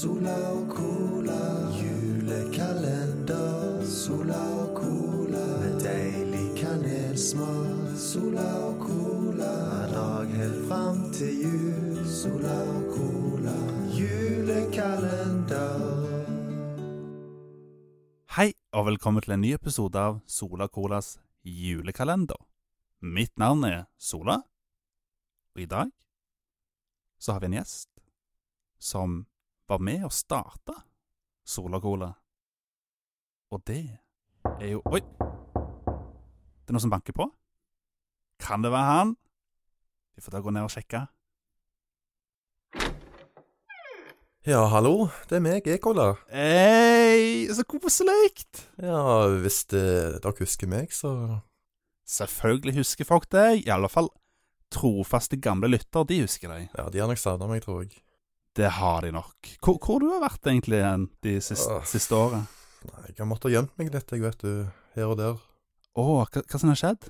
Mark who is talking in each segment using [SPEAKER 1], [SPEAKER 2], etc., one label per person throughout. [SPEAKER 1] Sola og cola, julekalender. Sola og cola, med deilig kanelsmak. Sola og cola, hver dag helt fram til jul. Sola og cola, julekalender.
[SPEAKER 2] Hei, og velkommen til en ny episode av Sola Colas julekalender. Mitt navn er Sola, og i dag så har vi en gjest som var med å starte Sola Cola. Og det er jo Oi! Det er noen som banker på. Kan det være han? Vi får da gå ned og sjekke.
[SPEAKER 3] Ja, hallo. Det er meg, Ekola.
[SPEAKER 2] Hei, så koselig!
[SPEAKER 3] Ja, hvis det, dere husker meg, så
[SPEAKER 2] Selvfølgelig husker folk deg. I alle fall trofaste gamle lytter, de husker deg.
[SPEAKER 3] Ja, de har nok savna meg, tror jeg.
[SPEAKER 2] Det har de nok. Hvor, hvor du har vært egentlig hen de siste,
[SPEAKER 3] Åh.
[SPEAKER 2] siste året?
[SPEAKER 3] Nei, jeg har måttet gjemt meg litt, jeg vet du. Her og der.
[SPEAKER 2] Å, hva, hva som har skjedd?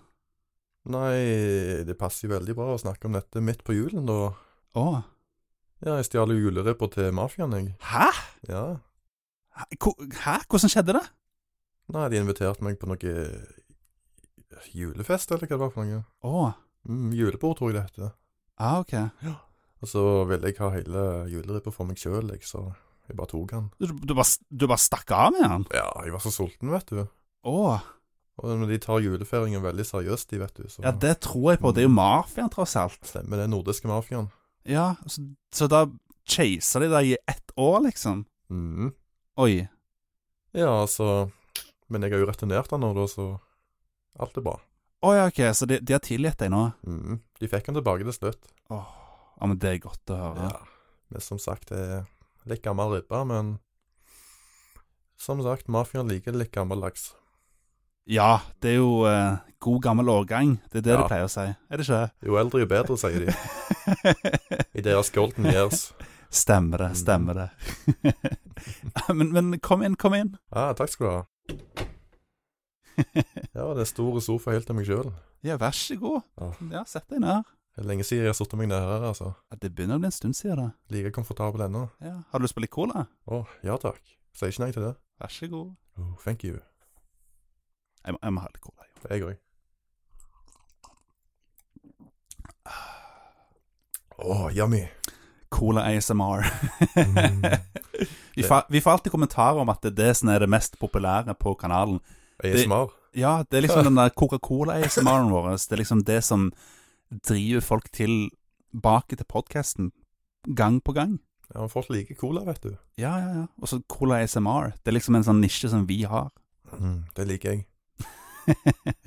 [SPEAKER 3] Nei, det passer jo veldig bra å snakke om dette midt på julen, da.
[SPEAKER 2] Å,
[SPEAKER 3] Ja, jeg stjal jo juleribber til mafiaen, jeg.
[SPEAKER 2] hæ?
[SPEAKER 3] Ja.
[SPEAKER 2] Hæ? Hvor- Hæ? Hvordan skjedde det?
[SPEAKER 3] Nei, de inviterte meg på noe julefest, eller hva det var for noe.
[SPEAKER 2] Å,
[SPEAKER 3] Mm, julebord, tror jeg det heter.
[SPEAKER 2] ja, Ah, ok.
[SPEAKER 3] Og så ville jeg ha hele juleribba for meg sjøl, jeg, så jeg bare tok den.
[SPEAKER 2] Du, du, bare, du bare stakk av med han?
[SPEAKER 3] Ja, jeg var så sulten, vet du.
[SPEAKER 2] Å,
[SPEAKER 3] Og men de tar julefeiringen veldig seriøst, de, vet du. Så.
[SPEAKER 2] ja, det tror jeg på. Det er jo mafiaen, tross alt.
[SPEAKER 3] Stemmer det, nordiske mafiaen.
[SPEAKER 2] Ja, så, så da chaser de deg i ett år, liksom?
[SPEAKER 3] Mhm.
[SPEAKER 2] Oi.
[SPEAKER 3] Ja, altså Men jeg har jo returnert den nå, da, så alt er bra.
[SPEAKER 2] Å ja, ok, så de, de har tilgitt deg nå?
[SPEAKER 3] Mhm. De fikk den tilbake til slutt.
[SPEAKER 2] Åh, ja, men det er godt å høre.
[SPEAKER 3] Men som sagt, det er litt gammel ribbe, men Som sagt, mafiaen liker litt gammel laks.
[SPEAKER 2] Ja, det er jo eh, god gammel årgang. Det er det
[SPEAKER 3] Ja.
[SPEAKER 2] de pleier å si, er det ikke
[SPEAKER 3] Jo eldre, jo bedre, sier de.
[SPEAKER 2] det?
[SPEAKER 3] I deres golden years.
[SPEAKER 2] Stemmer det, stemmer det. men, men kom inn, kom inn.
[SPEAKER 3] Ja, ah, takk skal du ha. Ja, det er store sofa helt til meg sjøl.
[SPEAKER 2] ja, vær så god.
[SPEAKER 3] Ja.
[SPEAKER 2] Ja, sett deg ned.
[SPEAKER 3] Det er lenge siden jeg har satt meg ned her, altså.
[SPEAKER 2] Ja, Det begynner å bli en stund siden, det.
[SPEAKER 3] Like komfortabel ennå.
[SPEAKER 2] Ja. Har du lyst på litt cola?
[SPEAKER 3] Å, ja takk. Sier ikke nei til det.
[SPEAKER 2] Vær så god.
[SPEAKER 3] Oh, thank you.
[SPEAKER 2] Jeg må, jeg må ha litt cola. Jo.
[SPEAKER 3] Jeg òg. Å, yummy.
[SPEAKER 2] Cola ASMR.
[SPEAKER 3] Mm.
[SPEAKER 2] vi, fa, vi får alltid kommentarer om at det er det som er det mest populære på kanalen.
[SPEAKER 3] ASMR.
[SPEAKER 2] Ja, det er liksom den der Coca-Cola-ASMR-en vår. Det er liksom det som driver folk tilbake til podkasten gang på gang.
[SPEAKER 3] Ja, men folk liker cola, vet du.
[SPEAKER 2] Ja, ja, ja. Og så Cola ASMR. Det er liksom en sånn nisje som vi har.
[SPEAKER 3] Mm, det liker jeg.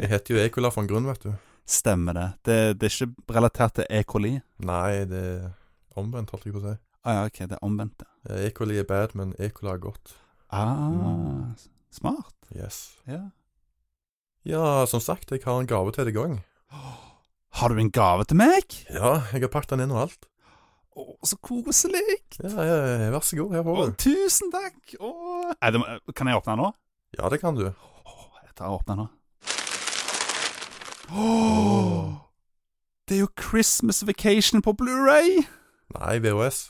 [SPEAKER 3] Jeg heter jo Ecola for en grunn, vet du.
[SPEAKER 2] Stemmer det. det. Det er ikke relatert til E. coli.
[SPEAKER 3] Nei, det er omvendt, holdt jeg på å si.
[SPEAKER 2] Ah, ja, ok, det er omvendt. det.
[SPEAKER 3] Ja, Ecoli er bad, men Ecola er godt.
[SPEAKER 2] Ah,
[SPEAKER 3] Mm.
[SPEAKER 2] s- smart.
[SPEAKER 3] Yes.
[SPEAKER 2] Ja.
[SPEAKER 3] Ja, som sagt, jeg har en gave til deg òg.
[SPEAKER 2] Har du en gave til meg?
[SPEAKER 3] Ja, jeg har pakket den inn og alt.
[SPEAKER 2] Å, så koselig!
[SPEAKER 3] Ja, ja, ja, vær så god, her
[SPEAKER 2] Å,
[SPEAKER 3] får du.
[SPEAKER 2] tusen takk! Å. Nei, det må- kan jeg åpne den nå?
[SPEAKER 3] Ja, det kan du.
[SPEAKER 2] Å, jeg tar og åpner den nå. Å, Det er jo Christmas Vacation på Blu-ray!
[SPEAKER 3] Nei, VHS.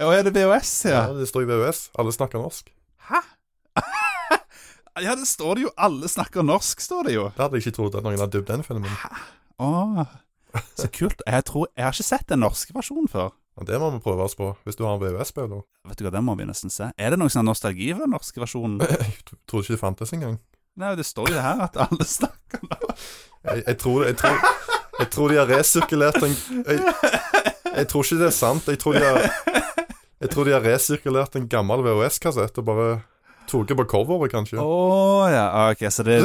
[SPEAKER 2] Å, er det VHS,
[SPEAKER 3] Ja,
[SPEAKER 2] ja?
[SPEAKER 3] det står i VHS. Alle snakker norsk.
[SPEAKER 2] Hæ? ja, det står det jo. Alle snakker norsk, står det jo.
[SPEAKER 3] Det hadde jeg ikke trodd at noen hadde dubbet den filmen.
[SPEAKER 2] Åh, så kult. Jeg tror, jeg har ikke sett den norske versjonen før.
[SPEAKER 3] Og det må vi prøve oss på, hvis du har en VHS-spiller.
[SPEAKER 2] Vet du hva, den må vi nesten se. Er det noen sånn nostalgi for den norske versjonen?
[SPEAKER 3] Jeg tro- trodde ikke det fantes engang.
[SPEAKER 2] Nei, det står jo det her at alle snakker norsk.
[SPEAKER 3] Jeg, jeg, tror, jeg, tror, jeg tror de har resirkulert den jeg, jeg tror ikke det er sant. Jeg tror de har, jeg tror de har resirkulert en gammel VHS-kassett og bare tatt på coveret, kanskje.
[SPEAKER 2] Åh, ja, ah, ok, så det,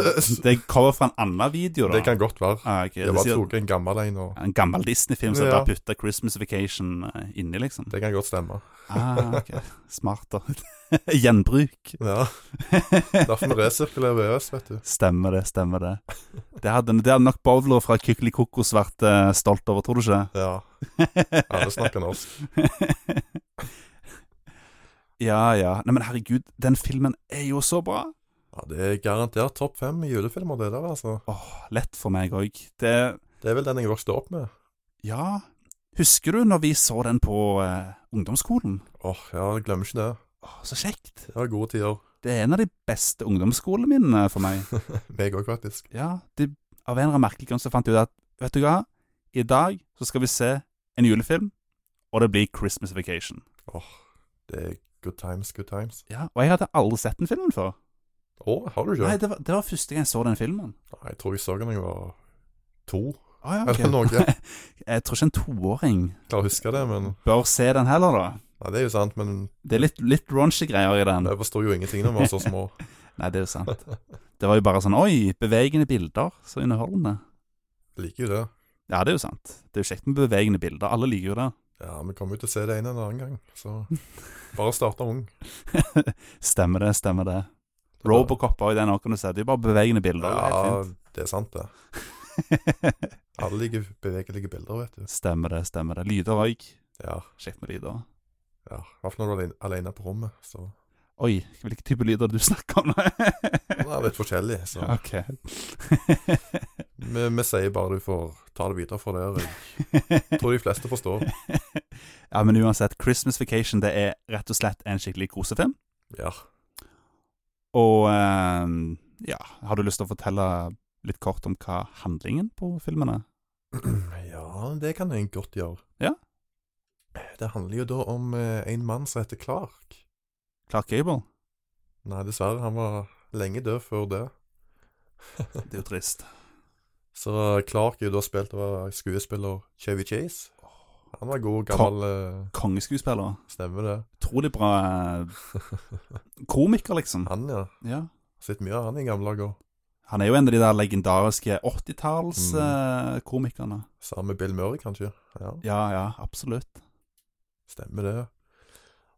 [SPEAKER 2] det kommer fra en annen video da.
[SPEAKER 3] Det kan godt være.
[SPEAKER 2] Ah, ok,
[SPEAKER 3] Det
[SPEAKER 2] det
[SPEAKER 3] var
[SPEAKER 2] sier
[SPEAKER 3] tatt en gammel en, og
[SPEAKER 2] en gammel Disney-film som
[SPEAKER 3] Ja.
[SPEAKER 2] bare putter Christmas Vacation eh, inni, liksom.
[SPEAKER 3] det kan godt stemme.
[SPEAKER 2] Ah, ok, smart da. Gjenbruk.
[SPEAKER 3] Ja. Derfor vi resirkulerer VHS, vet du.
[SPEAKER 2] Stemmer det, stemmer det. Det hadde, det hadde nok Bowler fra Kykeli Kokos vært eh, stolt over, tror du ikke?
[SPEAKER 3] Ja. Alle snakker norsk.
[SPEAKER 2] ja, ja. Nei, men herregud, den filmen er jo så bra.
[SPEAKER 3] Ja, Det er garantert topp fem julefilmer, det der, altså.
[SPEAKER 2] Åh, lett for meg òg. Det
[SPEAKER 3] Det er vel den jeg vokste opp med.
[SPEAKER 2] Ja. Husker du når vi så den på eh, ungdomsskolen?
[SPEAKER 3] Åh, ja, jeg glemmer ikke det.
[SPEAKER 2] Åh, så kjekt.
[SPEAKER 3] Det var gode tider.
[SPEAKER 2] Det er en av de beste ungdomsskoleminnene for meg.
[SPEAKER 3] Meg òg, faktisk.
[SPEAKER 2] Ja, det, av en eller annen merkelig grunn så fant jeg ut at Vet du hva, i dag så skal vi se en julefilm, og det blir Christmas Vacation.
[SPEAKER 3] Det er good times, good times.
[SPEAKER 2] Ja, Og jeg hadde aldri sett den filmen før.
[SPEAKER 3] Å, har du ikke?
[SPEAKER 2] Nei, det var, det var første gang jeg så den filmen.
[SPEAKER 3] Nei, jeg tror jeg så den da jeg var to.
[SPEAKER 2] Ah, ja,
[SPEAKER 3] Er det noe?
[SPEAKER 2] jeg tror ikke en toåring
[SPEAKER 3] Klarer å huske det, men
[SPEAKER 2] bør se den heller, da.
[SPEAKER 3] Nei, det er jo sant, men
[SPEAKER 2] Det er litt, litt raunchy greier i den.
[SPEAKER 3] jeg forstår jo ingenting når vi var så små.
[SPEAKER 2] Nei, det er jo sant. Det var jo bare sånn Oi, bevegende bilder. Så underholdende.
[SPEAKER 3] Liker jo det.
[SPEAKER 2] Ja, det er jo sant. Det er jo kjekt med bevegende bilder. Alle liker jo det.
[SPEAKER 3] Ja, vi kommer jo til å se det en eller annen gang, så bare starte ung.
[SPEAKER 2] Stemmer det, stemmer det. Robocop var jo den òg, kan du se. Det er jo bare bevegende bilder. det er helt
[SPEAKER 3] Ja,
[SPEAKER 2] fint.
[SPEAKER 3] det er sant, det. Alle liker bevegelige bilder, vet du.
[SPEAKER 2] Stemmer det, stemmer det. Lyder òg.
[SPEAKER 3] Ja,
[SPEAKER 2] Kjekt med lyder.
[SPEAKER 3] ja. I hvert fall når du er alene- alene på rommet, så
[SPEAKER 2] Oi, hvilken type lyder du snakker om?
[SPEAKER 3] Det er litt forskjellig, så
[SPEAKER 2] ok.
[SPEAKER 3] vi, vi sier bare du får ta det videre fra der. Jeg tror de fleste forstår.
[SPEAKER 2] ja, men uansett, Christmas Vacation det er rett og slett en skikkelig kosefilm.
[SPEAKER 3] Ja.
[SPEAKER 2] Og eh, ja, har du lyst til å fortelle litt kort om hva handlingen på filmen er?
[SPEAKER 3] Ja, det kan jeg godt gjøre.
[SPEAKER 2] Ja.
[SPEAKER 3] Det handler jo da om eh, en mann som heter Clark.
[SPEAKER 2] Clark Gable?
[SPEAKER 3] Nei, dessverre, han var lenge død før det.
[SPEAKER 2] Det er jo trist.
[SPEAKER 3] Så Clark er jo da spilt av skuespiller Chevy Chase. Han var god, gammel eh,
[SPEAKER 2] Kongeskuespiller.
[SPEAKER 3] stemme, det.
[SPEAKER 2] Utrolig bra eh, komiker, liksom.
[SPEAKER 3] Han, ja.
[SPEAKER 2] Ja.
[SPEAKER 3] Sett mye av han i gamle dager.
[SPEAKER 2] Han er jo en av de der legendariske 80-tallskomikerne.
[SPEAKER 3] Sammen med Bill Murray, kanskje. Ja,
[SPEAKER 2] ja, ja, absolutt.
[SPEAKER 3] stemmer det.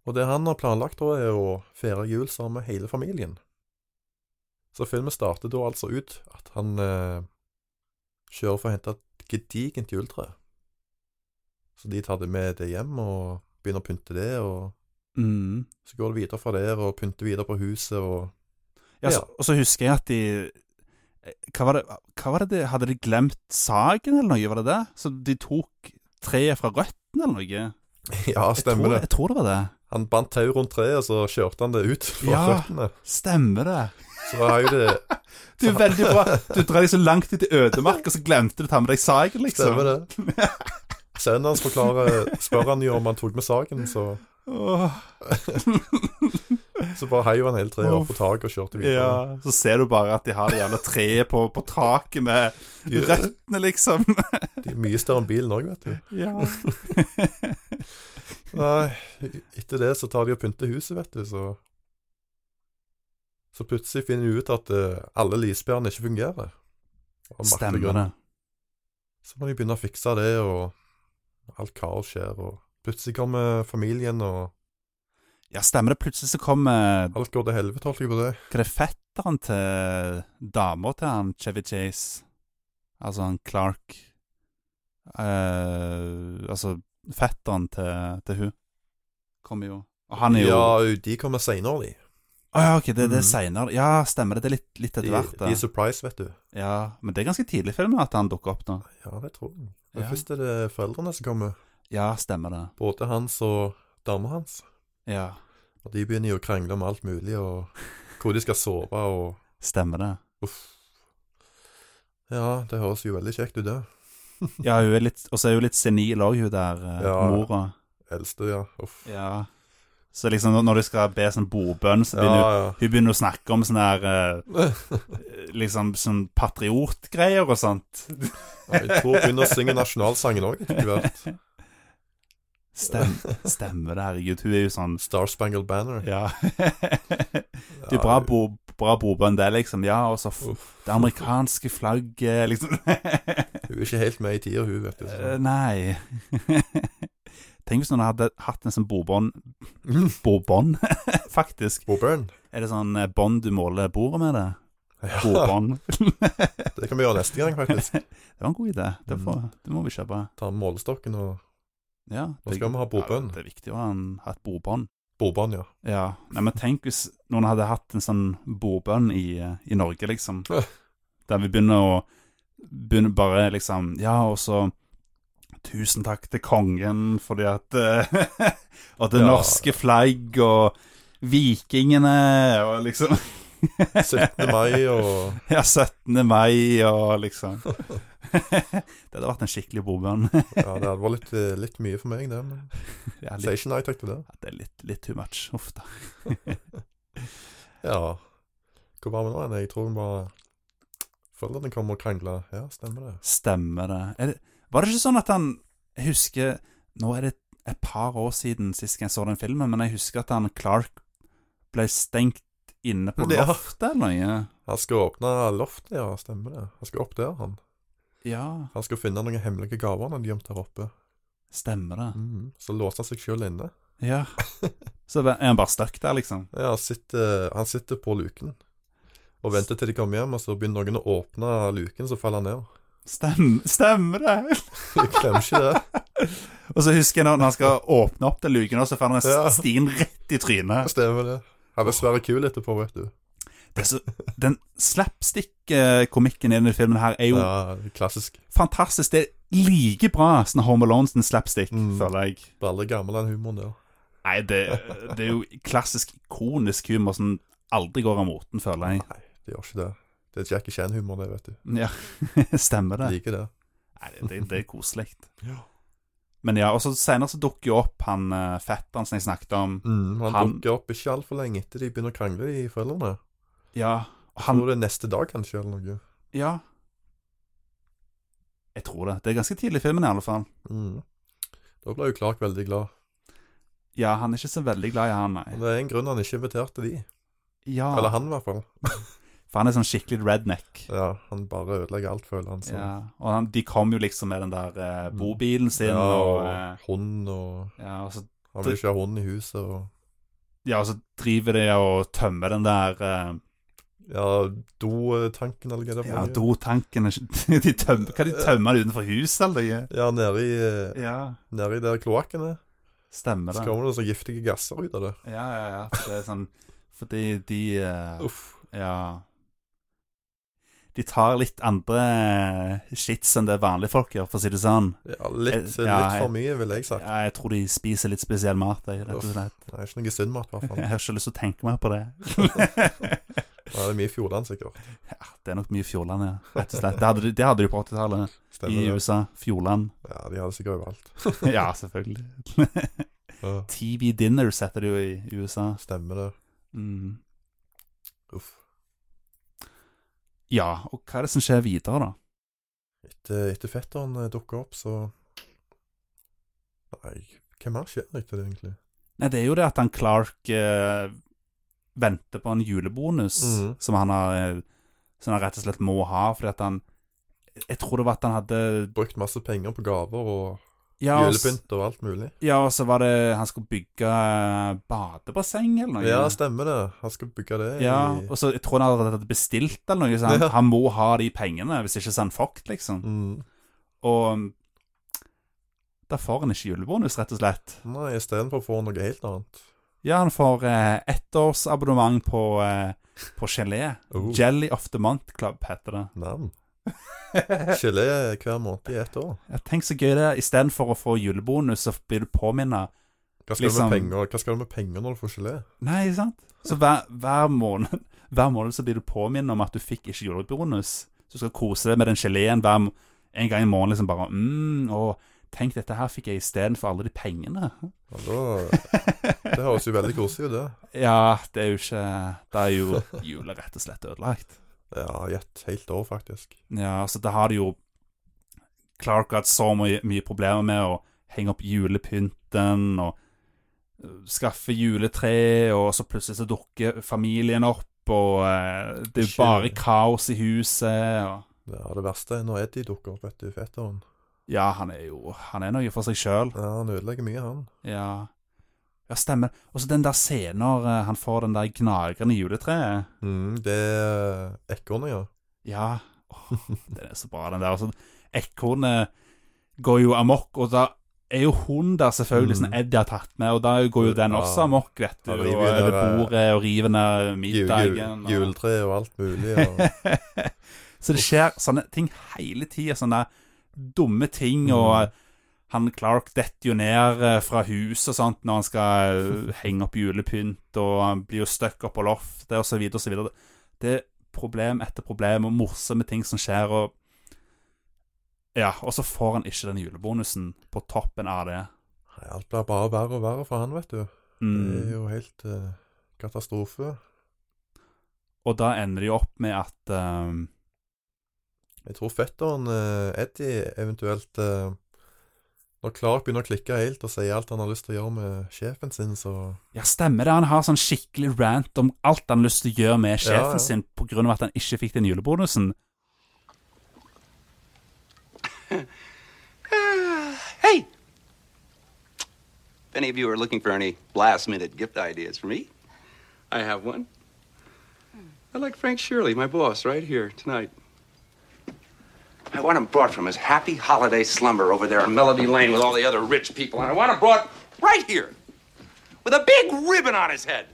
[SPEAKER 3] Og det han har planlagt, da, er å feire jul sammen med hele familien. Så filmen starter da altså ut at han eh, kjører for å hente et gedigent juletre. Så de tar det med det hjem og begynner å pynte det, og
[SPEAKER 2] Mm.
[SPEAKER 3] Så går det videre fra der og pynter videre på huset og
[SPEAKER 2] Ja, så,
[SPEAKER 3] Ja.
[SPEAKER 2] Og så husker jeg at de eh, hva var, det, hva var det de Hadde de glemt saken eller noe? Var det det? Så de tok treet fra røttene eller noe?
[SPEAKER 3] Ja,
[SPEAKER 2] Jeg tror,
[SPEAKER 3] stemmer det.
[SPEAKER 2] jeg tror det var det.
[SPEAKER 3] Han bandt tau rundt treet, og så kjørte han det ut fra
[SPEAKER 2] Ja.
[SPEAKER 3] føttene.
[SPEAKER 2] Stemmer det.
[SPEAKER 3] Så har jo det
[SPEAKER 2] Du er veldig bra. Du drar deg så langt ut i ødemark, og så glemte du å ta med deg saken, liksom.
[SPEAKER 3] Stemmer det. Sønnen hans forklarer Spør han jo om han tok med saken, så,
[SPEAKER 2] Åh,
[SPEAKER 3] så bare heiv han hele treet opp på taket og kjørte
[SPEAKER 2] ja.
[SPEAKER 3] videre.
[SPEAKER 2] Så ser du bare at de har det jævla treet på, på taket med
[SPEAKER 3] De,
[SPEAKER 2] røttene, liksom.
[SPEAKER 3] de er mye større enn bilen òg, vet du.
[SPEAKER 2] Ja.
[SPEAKER 3] Nei, etter det så tar de og pynter huset, vet du, så Så plutselig finner de ut at eh, alle lyspærene ikke fungerer. Av merkelig grunn.
[SPEAKER 2] Stemmer det.
[SPEAKER 3] Så må de begynne å fikse det, og alt kaos skjer, og plutselig kommer familien, og
[SPEAKER 2] Ja, stemmer det. Plutselig så kommer
[SPEAKER 3] alt går til helvete, holdt jeg på det.
[SPEAKER 2] Hva er det fetteren til dama til han Chevy Chase? Altså han Clark eh, Altså fetteren til, til hun kommer jo Og han er jo
[SPEAKER 3] Ja,
[SPEAKER 2] Å
[SPEAKER 3] de kommer seinere, de.
[SPEAKER 2] ja, OK, det, det
[SPEAKER 3] Mhm.
[SPEAKER 2] er seinere. Ja, stemmer det. Det er litt, litt
[SPEAKER 3] De,
[SPEAKER 2] etter hvert.
[SPEAKER 3] de er
[SPEAKER 2] det.
[SPEAKER 3] surprise, vet du.
[SPEAKER 2] Ja, Men det er ganske tidlig i filmen at han dukker opp nå.
[SPEAKER 3] Ja, det tror jeg. Men
[SPEAKER 2] Ja.
[SPEAKER 3] først er det foreldrene som kommer,
[SPEAKER 2] Ja, stemmer det.
[SPEAKER 3] både hans og dama hans.
[SPEAKER 2] Ja,
[SPEAKER 3] Og de begynner jo å krangle om alt mulig, og hvor de skal sove, og
[SPEAKER 2] Stemmer det.
[SPEAKER 3] uff. Ja, det høres jo veldig kjekt ut, det.
[SPEAKER 2] Ja, hun er litt Og så er hun litt senil òg, hun der eh,
[SPEAKER 3] Ja.
[SPEAKER 2] mora.
[SPEAKER 3] Eldste, ja. Uff. Ja,
[SPEAKER 2] Ja. Så liksom når- når de skal be sånn bordbønn, så begynner hun
[SPEAKER 3] ja.
[SPEAKER 2] Hun begynner å snakke om sånne her eh, Liksom sånn patriotgreier og sånt.
[SPEAKER 3] Jeg tror hun begynner å synge nasjonalsangen òg etter hvert.
[SPEAKER 2] Stem, stemmer det, herregud. Hun er jo sånn
[SPEAKER 3] Star Spangled Banner.
[SPEAKER 2] Ja. Det er bra, bo, bra bordbønn, det, liksom. Ja, og så f
[SPEAKER 3] Uff.
[SPEAKER 2] det amerikanske flagget, liksom.
[SPEAKER 3] Hun er ikke helt med i tida, hun, vet du.
[SPEAKER 2] Eh, Nei. Tenk hvis noen hadde hatt en sånn bordbånd Eh, Bordbånd, faktisk.
[SPEAKER 3] Bobørn.
[SPEAKER 2] Er det sånn eh, bånd du måler bordet med? det?
[SPEAKER 3] Ja,
[SPEAKER 2] Bordbånd.
[SPEAKER 3] det kan vi gjøre neste gang, faktisk.
[SPEAKER 2] Det var en god idé. Det, får, det må vi kjøpe.
[SPEAKER 3] Ta med målestokken og
[SPEAKER 2] Ja,
[SPEAKER 3] Mm. Nå skal vi ha
[SPEAKER 2] Ja,
[SPEAKER 3] bordbånd.
[SPEAKER 2] det er viktig å ha, en, ha et bordbånd.
[SPEAKER 3] bordbånd, ja.
[SPEAKER 2] Ja, Nei, men tenk hvis noen hadde hatt en sånn bordbønn i, eh, i Norge, liksom.
[SPEAKER 3] Ja.
[SPEAKER 2] Der vi begynner å begynner bare liksom Ja, og så tusen takk til kongen fordi at eh, Og det
[SPEAKER 3] Ja.
[SPEAKER 2] norske flagg og vikingene og liksom
[SPEAKER 3] 17. mai og
[SPEAKER 2] Ja, 17. mai og liksom Det hadde vært en skikkelig bobønn.
[SPEAKER 3] Ja, det var litt, eh, litt mye for meg, det. Men
[SPEAKER 2] Ja,
[SPEAKER 3] jeg
[SPEAKER 2] litt,
[SPEAKER 3] sier ikke nei takk til det.
[SPEAKER 2] ja, det er litt, litt too much. Uff da.
[SPEAKER 3] Ja. Hvor var vi nå igjen? Jeg tror vi bare føler at den kommer og krangler. Ja, stemmer det.
[SPEAKER 2] Stemmer det. Er det. Var det ikke sånn at han jeg husker Nå er det et par år siden sist jeg så den filmen, men jeg husker at han Clark ble stengt inne på
[SPEAKER 3] Ja.
[SPEAKER 2] loftet eller noe.
[SPEAKER 3] Han skal åpne loftet, ja. Stemmer det. Han skal opp der, han.
[SPEAKER 2] Ja,
[SPEAKER 3] Han skal finne noen hemmelige gaver han har gjemt der oppe.
[SPEAKER 2] stemmer det.
[SPEAKER 3] Mhm. Så låser han seg sjøl inne.
[SPEAKER 2] Ja. Så er han bare stuck der, liksom.
[SPEAKER 3] Ja, han sitter, han sitter på luken og venter til de kommer hjem, og så begynner noen å åpne luken, så faller han ned.
[SPEAKER 2] Stem, stemmer det!
[SPEAKER 3] Jeg glemmer ikke det.
[SPEAKER 2] Og så husker jeg når når han skal åpne opp den luken, og så får han
[SPEAKER 3] Ja.
[SPEAKER 2] en stien rett i trynet.
[SPEAKER 3] Stemmer det. Han er svært kul etterpå, vet du.
[SPEAKER 2] Det er så, den slapstick-komikken i denne filmen her er jo
[SPEAKER 3] Ja, klassisk.
[SPEAKER 2] fantastisk. Det er like bra som Home Alones sin slapstick,
[SPEAKER 3] Mm.
[SPEAKER 2] føler jeg.
[SPEAKER 3] Bare gammel den humoren der.
[SPEAKER 2] Nei, det, det er jo klassisk ikonisk humor som aldri går av moten, føler jeg.
[SPEAKER 3] Nei, det gjør ikke det. Det er Jackie Chan-humor, det, vet du.
[SPEAKER 2] Ja, Stemmer det.
[SPEAKER 3] Liker det.
[SPEAKER 2] Nei, det, det, det er koselig.
[SPEAKER 3] Ja.
[SPEAKER 2] Men ja, og så senere så dukker jo opp han eh, fetteren som jeg snakket om.
[SPEAKER 3] Mm, han,
[SPEAKER 2] Han-
[SPEAKER 3] dukker opp ikke altfor lenge etter de begynner å krangle, de foreldrene.
[SPEAKER 2] Ja, og
[SPEAKER 3] Han...
[SPEAKER 2] han
[SPEAKER 3] Tror det er neste dag, kanskje, eller noe.
[SPEAKER 2] Ja. Jeg tror det. Det er ganske tidlig i filmen, i alle fall.
[SPEAKER 3] Mm. Da ble jo Clark veldig glad.
[SPEAKER 2] Ja, han er ikke så veldig glad i han, nei.
[SPEAKER 3] Og det er en grunn han ikke inviterte de.
[SPEAKER 2] Ja,
[SPEAKER 3] Eller han, i hvert fall.
[SPEAKER 2] For han er sånn skikkelig redneck.
[SPEAKER 3] Ja, han bare ødelegger alt, føler han. Så.
[SPEAKER 2] Ja, og han, de kom jo liksom med den der eh, bobilen sin,
[SPEAKER 3] Ja,
[SPEAKER 2] og,
[SPEAKER 3] og
[SPEAKER 2] eh,
[SPEAKER 3] hund, og
[SPEAKER 2] ja, og så,
[SPEAKER 3] Han vil ikke ha hund i huset, og
[SPEAKER 2] ja, og så driver de og tømmer den der eh,
[SPEAKER 3] Ja, dotanken, eller hva det
[SPEAKER 2] Ja,
[SPEAKER 3] var.
[SPEAKER 2] dotanken er ikke- de tømmer, Kan de tømme det utenfor huset, eller? noe?
[SPEAKER 3] Ja, nede i, eh,
[SPEAKER 2] Ja,
[SPEAKER 3] nede i der kloakken er.
[SPEAKER 2] stemmer
[SPEAKER 3] Så
[SPEAKER 2] det.
[SPEAKER 3] kommer det sånne giftige gasser ut av det.
[SPEAKER 2] Ja, ja, ja. for Det er sånn Fordi de eh,
[SPEAKER 3] Uff.
[SPEAKER 2] Ja. De tar litt andre eh, shits enn det vanlige folk gjør, for å si det sånn.
[SPEAKER 3] Ja, litt,
[SPEAKER 2] Eh, ja,
[SPEAKER 3] litt for mye, ville jeg sagt.
[SPEAKER 2] Ja, jeg tror de spiser litt spesiell mat. Jeg, rett og
[SPEAKER 3] Uff.
[SPEAKER 2] slett.
[SPEAKER 3] Det er ikke noe synd mat, i hvert fall.
[SPEAKER 2] jeg har ikke lyst til å tenke meg på det.
[SPEAKER 3] Ja, det er mye Fjordland, sikkert.
[SPEAKER 2] Ja, det er nok mye Fjordland, ja. Rett og slett. Det hadde de, det hadde de på 80-tallet i
[SPEAKER 3] Stemmer det.
[SPEAKER 2] USA. Fjordland.
[SPEAKER 3] Ja, de har det sikkert overalt.
[SPEAKER 2] Ja, selvfølgelig.
[SPEAKER 3] Ja,
[SPEAKER 2] TV Dinners heter det jo i USA.
[SPEAKER 3] stemmer det.
[SPEAKER 2] Mm.
[SPEAKER 3] Uff.
[SPEAKER 2] Ja, og hva er det som skjer videre, da?
[SPEAKER 3] Etter, etter fetteren eh, dukker opp, så Nei, hva mer skjer etter det, egentlig?
[SPEAKER 2] Nei, det er jo det at han Clark eh, venter på en julebonus
[SPEAKER 3] Mhm.
[SPEAKER 2] som, han har, eh, som han rett og slett må ha, fordi at han Jeg tror det var at han hadde
[SPEAKER 3] Brukt masse penger på gaver og
[SPEAKER 2] ja, og s-
[SPEAKER 3] julepynt og alt mulig.
[SPEAKER 2] Ja, og så var det Han skulle bygge eh, badebasseng eller noe.
[SPEAKER 3] Ja, stemmer det. Han skal bygge det
[SPEAKER 2] Ja,
[SPEAKER 3] i
[SPEAKER 2] og så jeg tror han allerede hadde bestilt eller noe, så han,
[SPEAKER 3] Ja.
[SPEAKER 2] han må ha de pengene, hvis ikke så er han fucked, liksom.
[SPEAKER 3] mm.
[SPEAKER 2] Og mm, da får han ikke julebonus, rett og slett.
[SPEAKER 3] Nei, istedenfor får han noe helt annet.
[SPEAKER 2] Ja, han får eh, ettårsabonnement på, eh, på gelé.
[SPEAKER 3] Oh.
[SPEAKER 2] Jelly of the Month Club heter det.
[SPEAKER 3] Nam. Gelé hver måned i ett år.
[SPEAKER 2] Ja, tenk så gøy det er. Istedenfor å få julebonus, så blir du påminnet.
[SPEAKER 3] Hva skal,
[SPEAKER 2] Liksom-
[SPEAKER 3] du med penger? Hva skal du med penger når du får gelé?
[SPEAKER 2] Nei, sant? Så hver, hver måned Hver måned så blir du påminnet om at du fikk ikke julebonus. Så du skal kose deg med den geleen hver, må- en gang i måneden. liksom bare mm, å, Tenk, dette her fikk jeg istedenfor alle de pengene.
[SPEAKER 3] Ja, da, det høres jo veldig koselig ut, det.
[SPEAKER 2] Ja, det er jo ikke Da er jo jula rett og slett ødelagt.
[SPEAKER 3] Ja, i et helt år, faktisk.
[SPEAKER 2] Ja, altså det har de jo Clark har hatt så mye, mye problemer med å henge opp julepynten og øh, skaffe juletre, og så plutselig så dukker familien opp, og eh, det er jo
[SPEAKER 3] Skjer.
[SPEAKER 2] bare kaos i huset. Og,
[SPEAKER 3] Ja, det verste er når Eddie dukker opp, vet du, fetteren.
[SPEAKER 2] ja, han er jo Han er noe for seg sjøl.
[SPEAKER 3] Ja, han ødelegger mye, han.
[SPEAKER 2] Ja. ja, stemmer. Og så den der scenen når eh, han får den der gnageren i juletreet.
[SPEAKER 3] Mm, det er ekornet, ja.
[SPEAKER 2] Ja. Åh, den er så bra, den der. Altså, Ekornet går jo amok, og da er jo hun der selvfølgelig,
[SPEAKER 3] Mm.
[SPEAKER 2] som Eddie har tatt med, og da går jo den
[SPEAKER 3] Ja.
[SPEAKER 2] også amok, vet du.
[SPEAKER 3] Ja,
[SPEAKER 2] Og
[SPEAKER 3] river
[SPEAKER 2] er
[SPEAKER 3] ned,
[SPEAKER 2] det bordet, og river ned
[SPEAKER 3] Ju-
[SPEAKER 2] middagen.
[SPEAKER 3] ju-
[SPEAKER 2] og-
[SPEAKER 3] Juletre og alt mulig. Og, Mm.
[SPEAKER 2] så det skjer sånne ting hele tida, sånne dumme ting, og eh, han Clark detter jo ned eh, fra huset og sånt når han skal eh, henge opp julepynt, og han blir jo stuck oppå loftet, og så videre og så videre. Det er problem etter problem, og morsomme ting som skjer, og Ja, og så får han ikke den julebonusen på toppen av det.
[SPEAKER 3] Nei, Alt blir bare verre og verre for han, vet du. Det er
[SPEAKER 2] Mm.
[SPEAKER 3] jo helt eh, katastrofe.
[SPEAKER 2] Og da ender de opp med at eh,
[SPEAKER 3] Jeg tror fetteren eh, Eddie eventuelt eh, Når Clark begynner å klikke helt og sier alt han har lyst til å gjøre med sjefen sin, så
[SPEAKER 2] Ja, stemmer det. Han har sånn skikkelig rant om alt han har lyst til å gjøre med sjefen
[SPEAKER 3] Ja, ja.
[SPEAKER 2] sin på grunn av at han ikke fikk den julebonusen.
[SPEAKER 4] Hey! If any of you are looking for any last minute gift ideas for me, I have one. I like Frank Shirley, my boss, right here tonight. I want him brought from his happy holiday slumber over there on Melody Lane with all the other rich people, and I want him brought right here with a big ribbon on his head.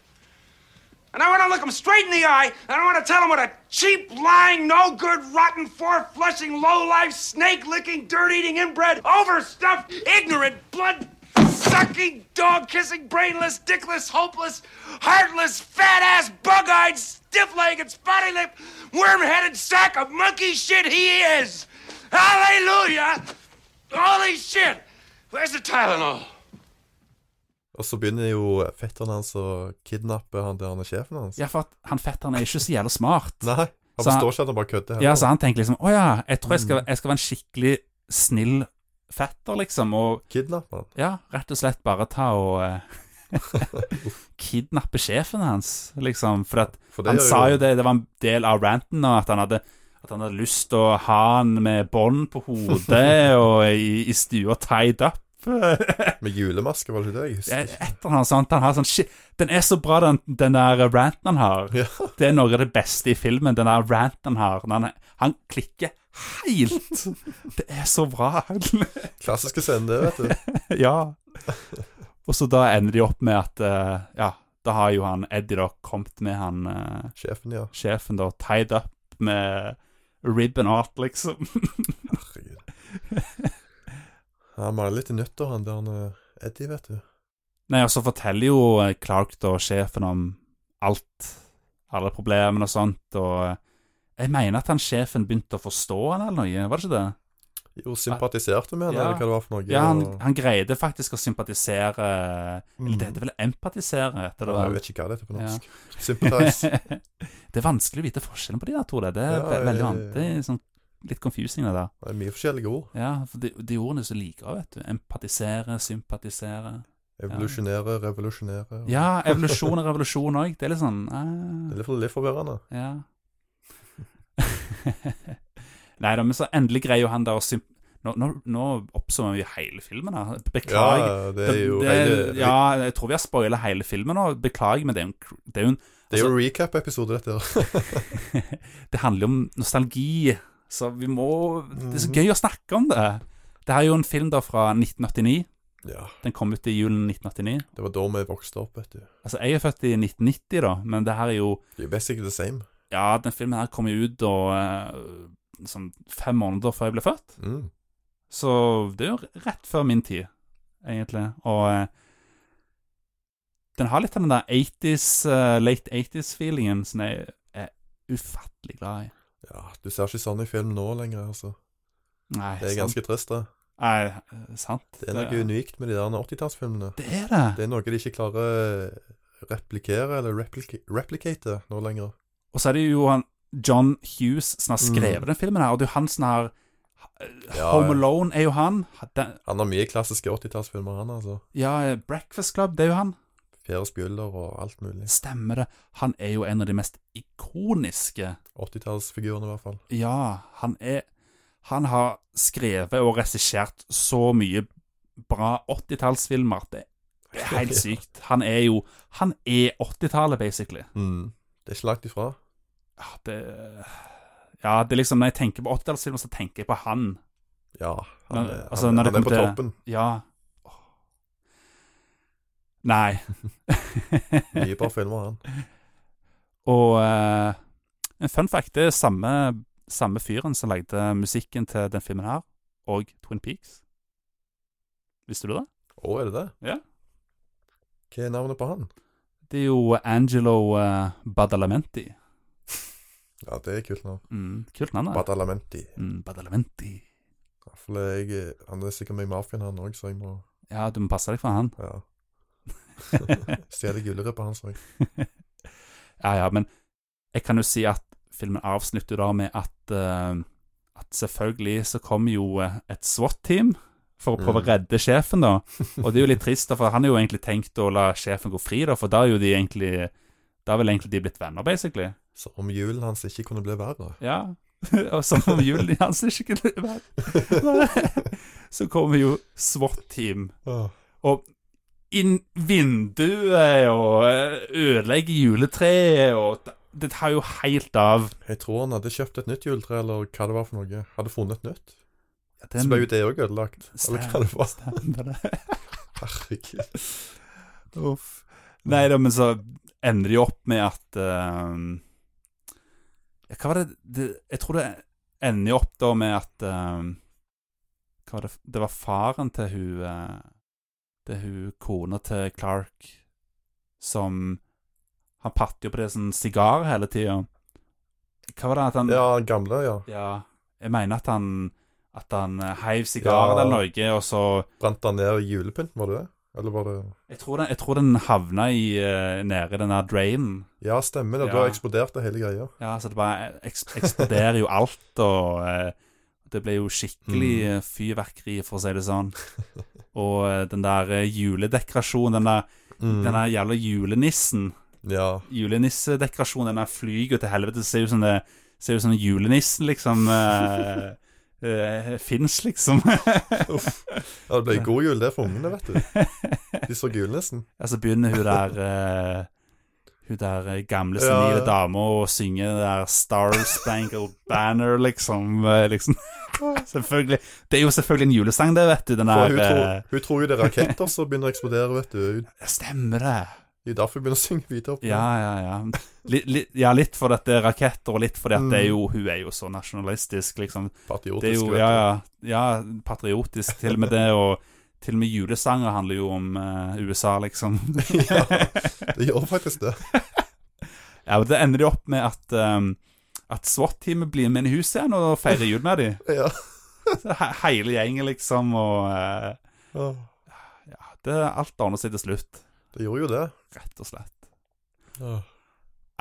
[SPEAKER 4] And I want to look him straight in the eye, and I want to tell him what a cheap, lying, no good, rotten, four flushing, low life, snake licking, dirt eating, inbred, overstuffed, ignorant, blood sucking, dog kissing, brainless, dickless, hopeless, heartless, fat ass, bug eyed, stiff legged, spotty lipped, worm headed sack of monkey shit he is! Hallelujah! Holy shit! Where's the Tylenol?
[SPEAKER 3] Og så begynner jo fetteren hans å kidnappe han der han er sjefen hans.
[SPEAKER 2] Ja, for at han fetteren er ikke så jævla smart.
[SPEAKER 3] Nei, han
[SPEAKER 2] Så han-
[SPEAKER 3] forstår ikke at han bare kødder. heller.
[SPEAKER 2] Ja, så han tenker liksom Å ja, jeg tror jeg skal, jeg skal være en skikkelig snill fetter, liksom. Og
[SPEAKER 3] Kidnapper han.
[SPEAKER 2] ja, rett og slett bare ta og eh, Kidnappe sjefen hans, liksom. For at
[SPEAKER 3] For det
[SPEAKER 2] han
[SPEAKER 3] gjør
[SPEAKER 2] sa
[SPEAKER 3] jo-
[SPEAKER 2] jo det, det var en del av ranten, og at han hadde at han hadde lyst til å ha han med bånd på hodet og i, i stua tied up.
[SPEAKER 3] Med julemaske, var det ikke det jeg
[SPEAKER 2] Det er
[SPEAKER 3] husker?
[SPEAKER 2] Et eller annet sånt. Han har sånn shit Den er så bra, den, den der ranten han har.
[SPEAKER 3] Ja.
[SPEAKER 2] Det er noe av det beste i filmen, den der ranten han har. når Han, han klikker helt. Det er så bra.
[SPEAKER 3] Klassiske scenen, det, vet du.
[SPEAKER 2] ja. Og så da ender de opp med at eh, Ja, da har jo han Eddie da kommet med han eh,
[SPEAKER 3] Sjefen, ja.
[SPEAKER 2] sjefen da tied up med ribbon art, liksom.
[SPEAKER 3] Herregud. Han maler litt i nøtter, han der han er Eddie, vet du.
[SPEAKER 2] Nei, og så forteller jo eh, Clark da sjefen om alt, alle problemene og sånt, og eh, jeg mener at han sjefen begynte å forstå han eller noe, var det ikke det?
[SPEAKER 3] Jo, sympatiserte med han,
[SPEAKER 2] Ja.
[SPEAKER 3] eller hva det var for noe.
[SPEAKER 2] Ja, han,
[SPEAKER 3] og-
[SPEAKER 2] han greide faktisk å sympatisere Eller det heter vel empatisere? Etter det,
[SPEAKER 3] Nei, Mm. jeg
[SPEAKER 2] vel?
[SPEAKER 3] vet ikke hva det heter på norsk. Sympatise.
[SPEAKER 2] det er vanskelig å vite forskjellen på de der to. Det, det er
[SPEAKER 3] Ja,
[SPEAKER 2] ve veldig
[SPEAKER 3] jeg-
[SPEAKER 2] vant. Det er sånn, litt confusing, det der.
[SPEAKER 3] Det er mye forskjellige ord.
[SPEAKER 2] Ja, for de, de ordene er så like òg, vet du. Empatisere, sympatisere.
[SPEAKER 3] Evolusjonere, revolusjonere. og-
[SPEAKER 2] Ja, evolusjon og revolusjon òg. Det er litt sånn
[SPEAKER 3] Det er
[SPEAKER 2] eh,
[SPEAKER 3] litt for- litt forvirrende.
[SPEAKER 2] Ja. Nei da, men så endelig greier jo han der å symp... Nå, nå, nå oppsummerer vi hele filmen her. Beklager.
[SPEAKER 3] Ja, det er jo
[SPEAKER 2] det,
[SPEAKER 3] hele-
[SPEAKER 2] Ja, jeg tror vi har spoila hele filmen nå. Beklager, men det er jo en cr- Det, er jo en,
[SPEAKER 3] Det er jo recap-episode, dette her.
[SPEAKER 2] det handler jo om nostalgi, så vi må Det
[SPEAKER 3] Mhm.
[SPEAKER 2] er så gøy å snakke om det. Det er jo en film da fra 1989.
[SPEAKER 3] Ja,
[SPEAKER 2] Den kom ut i julen 1989.
[SPEAKER 3] det var da vi vokste opp, vet du.
[SPEAKER 2] Altså, jeg er født i 1990, da, men det her er jo
[SPEAKER 3] Det er basically the same.
[SPEAKER 2] Ja, den filmen her kom jo ut da eh, sånn fem måneder før jeg ble født.
[SPEAKER 3] Mm.
[SPEAKER 2] Så det er jo rett før min tid, egentlig. Og eh, den har litt av den der 80s, eh, late 80s-feelingen som jeg er ufattelig glad i.
[SPEAKER 3] Ja, du ser ikke sånn i film nå lenger, altså.
[SPEAKER 2] Nei,
[SPEAKER 3] Det er
[SPEAKER 2] sant.
[SPEAKER 3] ganske trist, det.
[SPEAKER 2] Nei, eh, sant.
[SPEAKER 3] Det er noe unikt med de der 80-tallsfilmene.
[SPEAKER 2] Det er det.
[SPEAKER 3] Det er noe de ikke klarer å replikere, eller replika replicate nå lenger.
[SPEAKER 2] Og så er det jo han John Hughes som har skrevet
[SPEAKER 3] Mm.
[SPEAKER 2] den filmen her, og det er jo han som har
[SPEAKER 3] Ja,
[SPEAKER 2] Home
[SPEAKER 3] ja.
[SPEAKER 2] Alone er jo han. Den,
[SPEAKER 3] Han har mye klassiske 80-tallsfilmer, han, altså.
[SPEAKER 2] ja, eh, Breakfast Club, det er jo han.
[SPEAKER 3] Fjerde spjulder og alt mulig.
[SPEAKER 2] Stemmer det. Han er jo en av de mest ikoniske
[SPEAKER 3] 80-tallsfigurene, i hvert fall.
[SPEAKER 2] Ja, han er Han har skrevet og regissert så mye bra 80-tallsfilmer. Det er helt sykt. Han er jo Han er 80-tallet, basically.
[SPEAKER 3] Mm. Det er ikke langt ifra.
[SPEAKER 2] Ja, det Ja, det er liksom Når jeg tenker på 80-tallsfilmer, så tenker jeg på han.
[SPEAKER 3] Ja, han
[SPEAKER 2] Men,
[SPEAKER 3] er,
[SPEAKER 2] altså,
[SPEAKER 3] han,
[SPEAKER 2] når det
[SPEAKER 3] han er på
[SPEAKER 2] kommer til-
[SPEAKER 3] toppen.
[SPEAKER 2] Ja. Åh. Nei.
[SPEAKER 3] Mye bra filmer, han.
[SPEAKER 2] Og eh, en fun fact det er samme, samme fyren som lagde musikken til den filmen her, og Twin Peaks. Visste du det?
[SPEAKER 3] Å, er det det?
[SPEAKER 2] Ja.
[SPEAKER 3] Hva er navnet på han?
[SPEAKER 2] Det er jo Angelo eh, Badalamenti.
[SPEAKER 3] Ja, det er kult navn.
[SPEAKER 2] Mm, kult navn, da.
[SPEAKER 3] Badalamenti.
[SPEAKER 2] Mm, Badalamenti.
[SPEAKER 3] For jeg, han er sikkert med i mafiaen, han òg, så jeg må
[SPEAKER 2] Ja, du må passe deg for han.
[SPEAKER 3] Ja. Stjele gullrøpet hans òg.
[SPEAKER 2] Ja, ja, men jeg kan jo si at filmen avslutter da med at eh, At selvfølgelig så kommer jo eh, et SWAT-team for å prøve å redde sjefen, da. Og det er jo litt trist, da, for han har jo egentlig tenkt å la sjefen gå fri, da, for da er jo de egentlig Da er vel egentlig de blitt venner, basically.
[SPEAKER 3] Så om julen hans ikke kunne bli verre.
[SPEAKER 2] Ja. Og som om julen i hans ikke kunne vært Så kommer jo SWAT-team
[SPEAKER 3] Åh.
[SPEAKER 2] og inn vinduet og eh, ødelegger juletreet og Det tar jo helt av.
[SPEAKER 3] Jeg tror han hadde kjøpt et nytt juletre, eller hva det var for noe. Hadde funnet et nytt.
[SPEAKER 2] Ja,
[SPEAKER 3] Så ble jo det òg ødelagt. Eller hva det var.
[SPEAKER 2] Stemmer det.
[SPEAKER 3] Herregud.
[SPEAKER 2] Uff. Nei da, men så ender de opp med at eh, ja, Hva var det, det Jeg tror det ender jo opp da med at eh, Hva var det Det var faren til hun eh, Til hun kona til Clark som Han patter jo på det sånn sigar hele tida. Hva var det at han
[SPEAKER 3] Ja, han gamle, ja.
[SPEAKER 2] ja, jeg mener at han At han eh, heiv sigaren
[SPEAKER 3] Ja.
[SPEAKER 2] eller noe, og så
[SPEAKER 3] Brant han ned julepynten, var det det? Eller var det
[SPEAKER 2] Jeg tror den, jeg tror den havna i, eh, nede i den der drainen.
[SPEAKER 3] Ja, stemmer det.
[SPEAKER 2] Ja.
[SPEAKER 3] Da eksploderte hele greia.
[SPEAKER 2] Ja, så det bare e-, eks eksploderer jo alt, og eh, det ble jo skikkelig eh, fyrverkeri, for å si det sånn. Og eh, den der eh, juledekorasjonen, den der, den der jævla julenissen
[SPEAKER 3] Ja.
[SPEAKER 2] Julenissedekorasjonen, den der flyger jo til helvete, det ser jo ut som det ser ut som julenissen, liksom. Eh, eh, Fins, liksom.
[SPEAKER 3] ja det ble god jul, det, for ungene, vet du. De så julenissen.
[SPEAKER 2] Ja, så begynner hun der eh, Hun der eh, gamle senile
[SPEAKER 3] Ja.
[SPEAKER 2] dama å synge det der Star Spangled Banner, liksom. eh, liksom. selvfølgelig. Det er jo selvfølgelig en julesang, det, vet du. Den
[SPEAKER 3] For
[SPEAKER 2] der
[SPEAKER 3] hun tror,
[SPEAKER 2] eh,
[SPEAKER 3] hun tror jo det er raketter som begynner å eksplodere, vet du.
[SPEAKER 2] Stemmer det.
[SPEAKER 3] Det er derfor hun begynner å synge videre. på
[SPEAKER 2] Ja, ja, ja. Litt, litt, ja, litt fordi at det er raketter, og litt fordi at det er jo, hun er jo så nasjonalistisk, liksom.
[SPEAKER 3] Mm. Patriotisk.
[SPEAKER 2] Det er jo,
[SPEAKER 3] vet
[SPEAKER 2] ja,
[SPEAKER 3] du.
[SPEAKER 2] ja, ja, patriotisk til og med det, og til og med julesanger handler jo om eh, USA, liksom.
[SPEAKER 3] Det gjør faktisk det.
[SPEAKER 2] Ja, men Det ender de opp med at, ehm, at SWAT-teamet blir med inn i huset igjen og feirer jul med dem.
[SPEAKER 3] Ja.
[SPEAKER 2] Hele gjengen, liksom. Og eh,
[SPEAKER 3] Åh,
[SPEAKER 2] det, alt ordner seg til slutt,
[SPEAKER 3] Det gjorde jo det.
[SPEAKER 2] rett og slett.
[SPEAKER 3] Åh.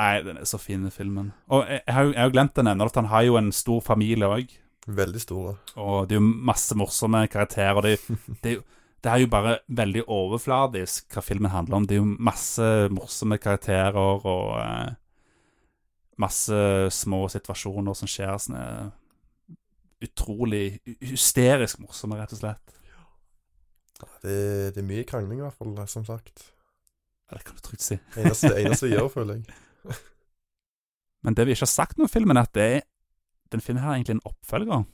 [SPEAKER 2] Nei, den er så fin, den filmen. Og jeg, jeg har jo jeg har jo glemt å nevne at han har jo en stor familie òg.
[SPEAKER 3] Veldig store.
[SPEAKER 2] Og det er jo masse morsomme karakterer. og Det, er jo- det, er jo- det er jo bare veldig overfladisk hva filmen handler om. Det er jo masse morsomme karakterer og eh, masse små situasjoner som skjer. Sånn, eh, utrolig hy- hysterisk morsomme, rett og slett.
[SPEAKER 3] Det, det er mye krangling, i hvert fall, som sagt.
[SPEAKER 2] Ja, Det kan du trygt si.
[SPEAKER 3] Det eneste, det eneste vi gjør, føler jeg.
[SPEAKER 2] Men det vi ikke har sagt noe om filmen, er at det er, den filmen her er egentlig en oppfølger.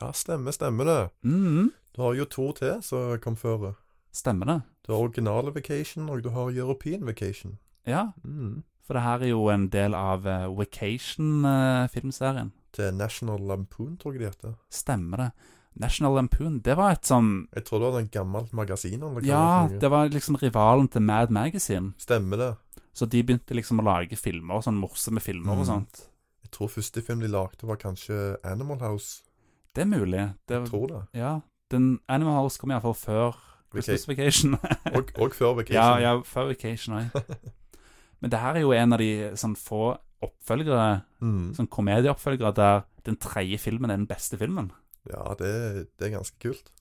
[SPEAKER 3] Ja, stemmer, stemmer det.
[SPEAKER 2] Mhm,
[SPEAKER 3] Du har jo to til som kom før.
[SPEAKER 2] stemmer det.
[SPEAKER 3] Du har originale Vacation, og du har European Vacation.
[SPEAKER 2] Ja,
[SPEAKER 3] Mm.
[SPEAKER 2] for det her er jo en del av eh, Vacation-filmserien.
[SPEAKER 3] Det er National Lampoon, tror jeg det heter.
[SPEAKER 2] Stemmer det. National Lampoon, det var et sånn
[SPEAKER 3] Jeg tror det var et gammelt magasin. Eller hva
[SPEAKER 2] Ja,
[SPEAKER 3] det var for noe.
[SPEAKER 2] det var liksom rivalen til Mad Magazine.
[SPEAKER 3] Stemmer det.
[SPEAKER 2] Så de begynte liksom å lage filmer, og sånn morsomme filmer og
[SPEAKER 3] Mm.
[SPEAKER 2] sånt.
[SPEAKER 3] Jeg tror første film de lagde, var kanskje Animal House.
[SPEAKER 2] Det er mulig. Det,
[SPEAKER 3] Jeg tror det.
[SPEAKER 2] ja, den Animal House kom iallfall før Christmas Vacation.
[SPEAKER 3] Og, og før Vacation.
[SPEAKER 2] ja, ja, før Vacation òg. Men det her er jo en av de sånn få oppfølgere,
[SPEAKER 3] Mm.
[SPEAKER 2] sånn komedieoppfølgere, der den tredje filmen er den beste filmen.
[SPEAKER 3] ja det, det er ganske kult.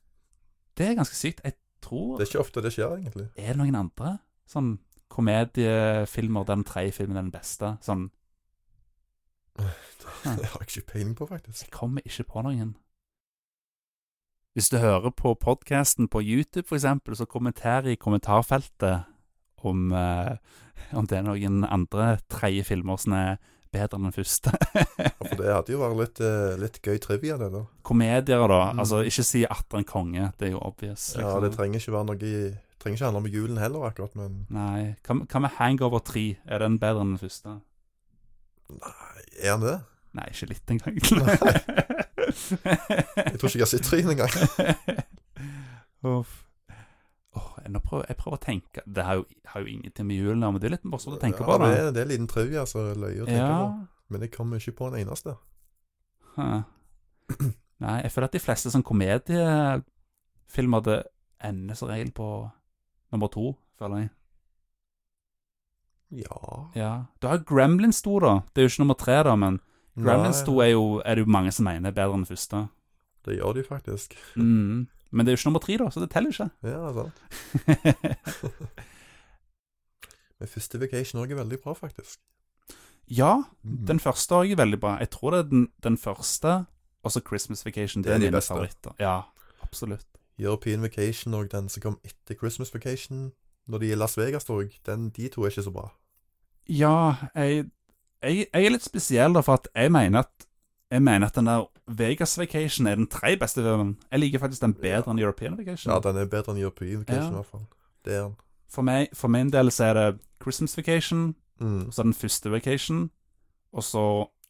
[SPEAKER 2] Det er ganske sykt. Jeg tror
[SPEAKER 3] Det er ikke ofte det skjer, egentlig.
[SPEAKER 2] Er det noen andre sånn komediefilmer der den tredje filmen er den beste? Sånn
[SPEAKER 3] Det har jeg ikke peiling på, faktisk.
[SPEAKER 2] Jeg kommer ikke på noen. Hvis du hører på podkasten på YouTube, for eksempel, så kommenter i kommentarfeltet om, eh, om det er noen andre tredje filmer som er bedre enn den første.
[SPEAKER 3] Ja, For det hadde jo vært litt, eh, litt gøy trivia, det der.
[SPEAKER 2] Komedier, da.
[SPEAKER 3] Mm.
[SPEAKER 2] Altså, ikke si 'Atter en konge', det er jo obvious. liksom.
[SPEAKER 3] Ja, det trenger ikke være noe i- trenger ikke handle om julen heller, akkurat, men
[SPEAKER 2] Nei. Hva med- hva med Hangover 3? Er den bedre enn den første?
[SPEAKER 3] er han det?
[SPEAKER 2] Nei, ikke litt engang.
[SPEAKER 3] Jeg tror ikke jeg har sett trynet engang.
[SPEAKER 2] Uff. Nå prøver jeg prøver å tenke Det har jo, har jo ingenting med julen å gjøre, men det er litt morsomt å tenke
[SPEAKER 3] Ja,
[SPEAKER 2] på.
[SPEAKER 3] det,
[SPEAKER 2] da.
[SPEAKER 3] er, det er en liten trau, altså. Løye å tenke
[SPEAKER 2] Ja.
[SPEAKER 3] på. Men jeg kommer ikke på en eneste.
[SPEAKER 2] Huh. Nei, jeg føler at de fleste sånn komediefilmer det ender som regel på nummer to, føler jeg.
[SPEAKER 3] Ja
[SPEAKER 2] Ja. Du har Gremlins 2, da. Det er jo ikke nummer tre, da, men Gremlins
[SPEAKER 3] Nei,
[SPEAKER 2] 2 er jo er det jo mange som mener er bedre enn den første.
[SPEAKER 3] Det gjør de faktisk.
[SPEAKER 2] Mm. Men det er jo ikke nummer tre, da, så det teller ikke.
[SPEAKER 3] Ja, sant. Men første Vacation òg er veldig bra, faktisk. Mm.
[SPEAKER 2] ja, den første er også veldig bra. Jeg tror det er den, den første, og så Christmas Vacation. Det er, de beste. favoritter. Ja, absolutt.
[SPEAKER 3] European Vacation og den som kom etter Christmas Vacation, når de er i Las Vegas òg, de to er ikke så bra.
[SPEAKER 2] Ja, jeg, jeg, jeg er litt spesiell, da, for at jeg mener at jeg mener at den der Vegas Vacation er den tre beste filmen. Jeg liker faktisk den bedre enn European Vacation.
[SPEAKER 3] Ja, den er bedre enn European
[SPEAKER 2] Mm. Ja.
[SPEAKER 3] Vacation, i hvert fall. Det er den.
[SPEAKER 2] For, meg, for min del så er det Christmas Vacation,
[SPEAKER 3] Mm.
[SPEAKER 2] og så er den første Vacation, og så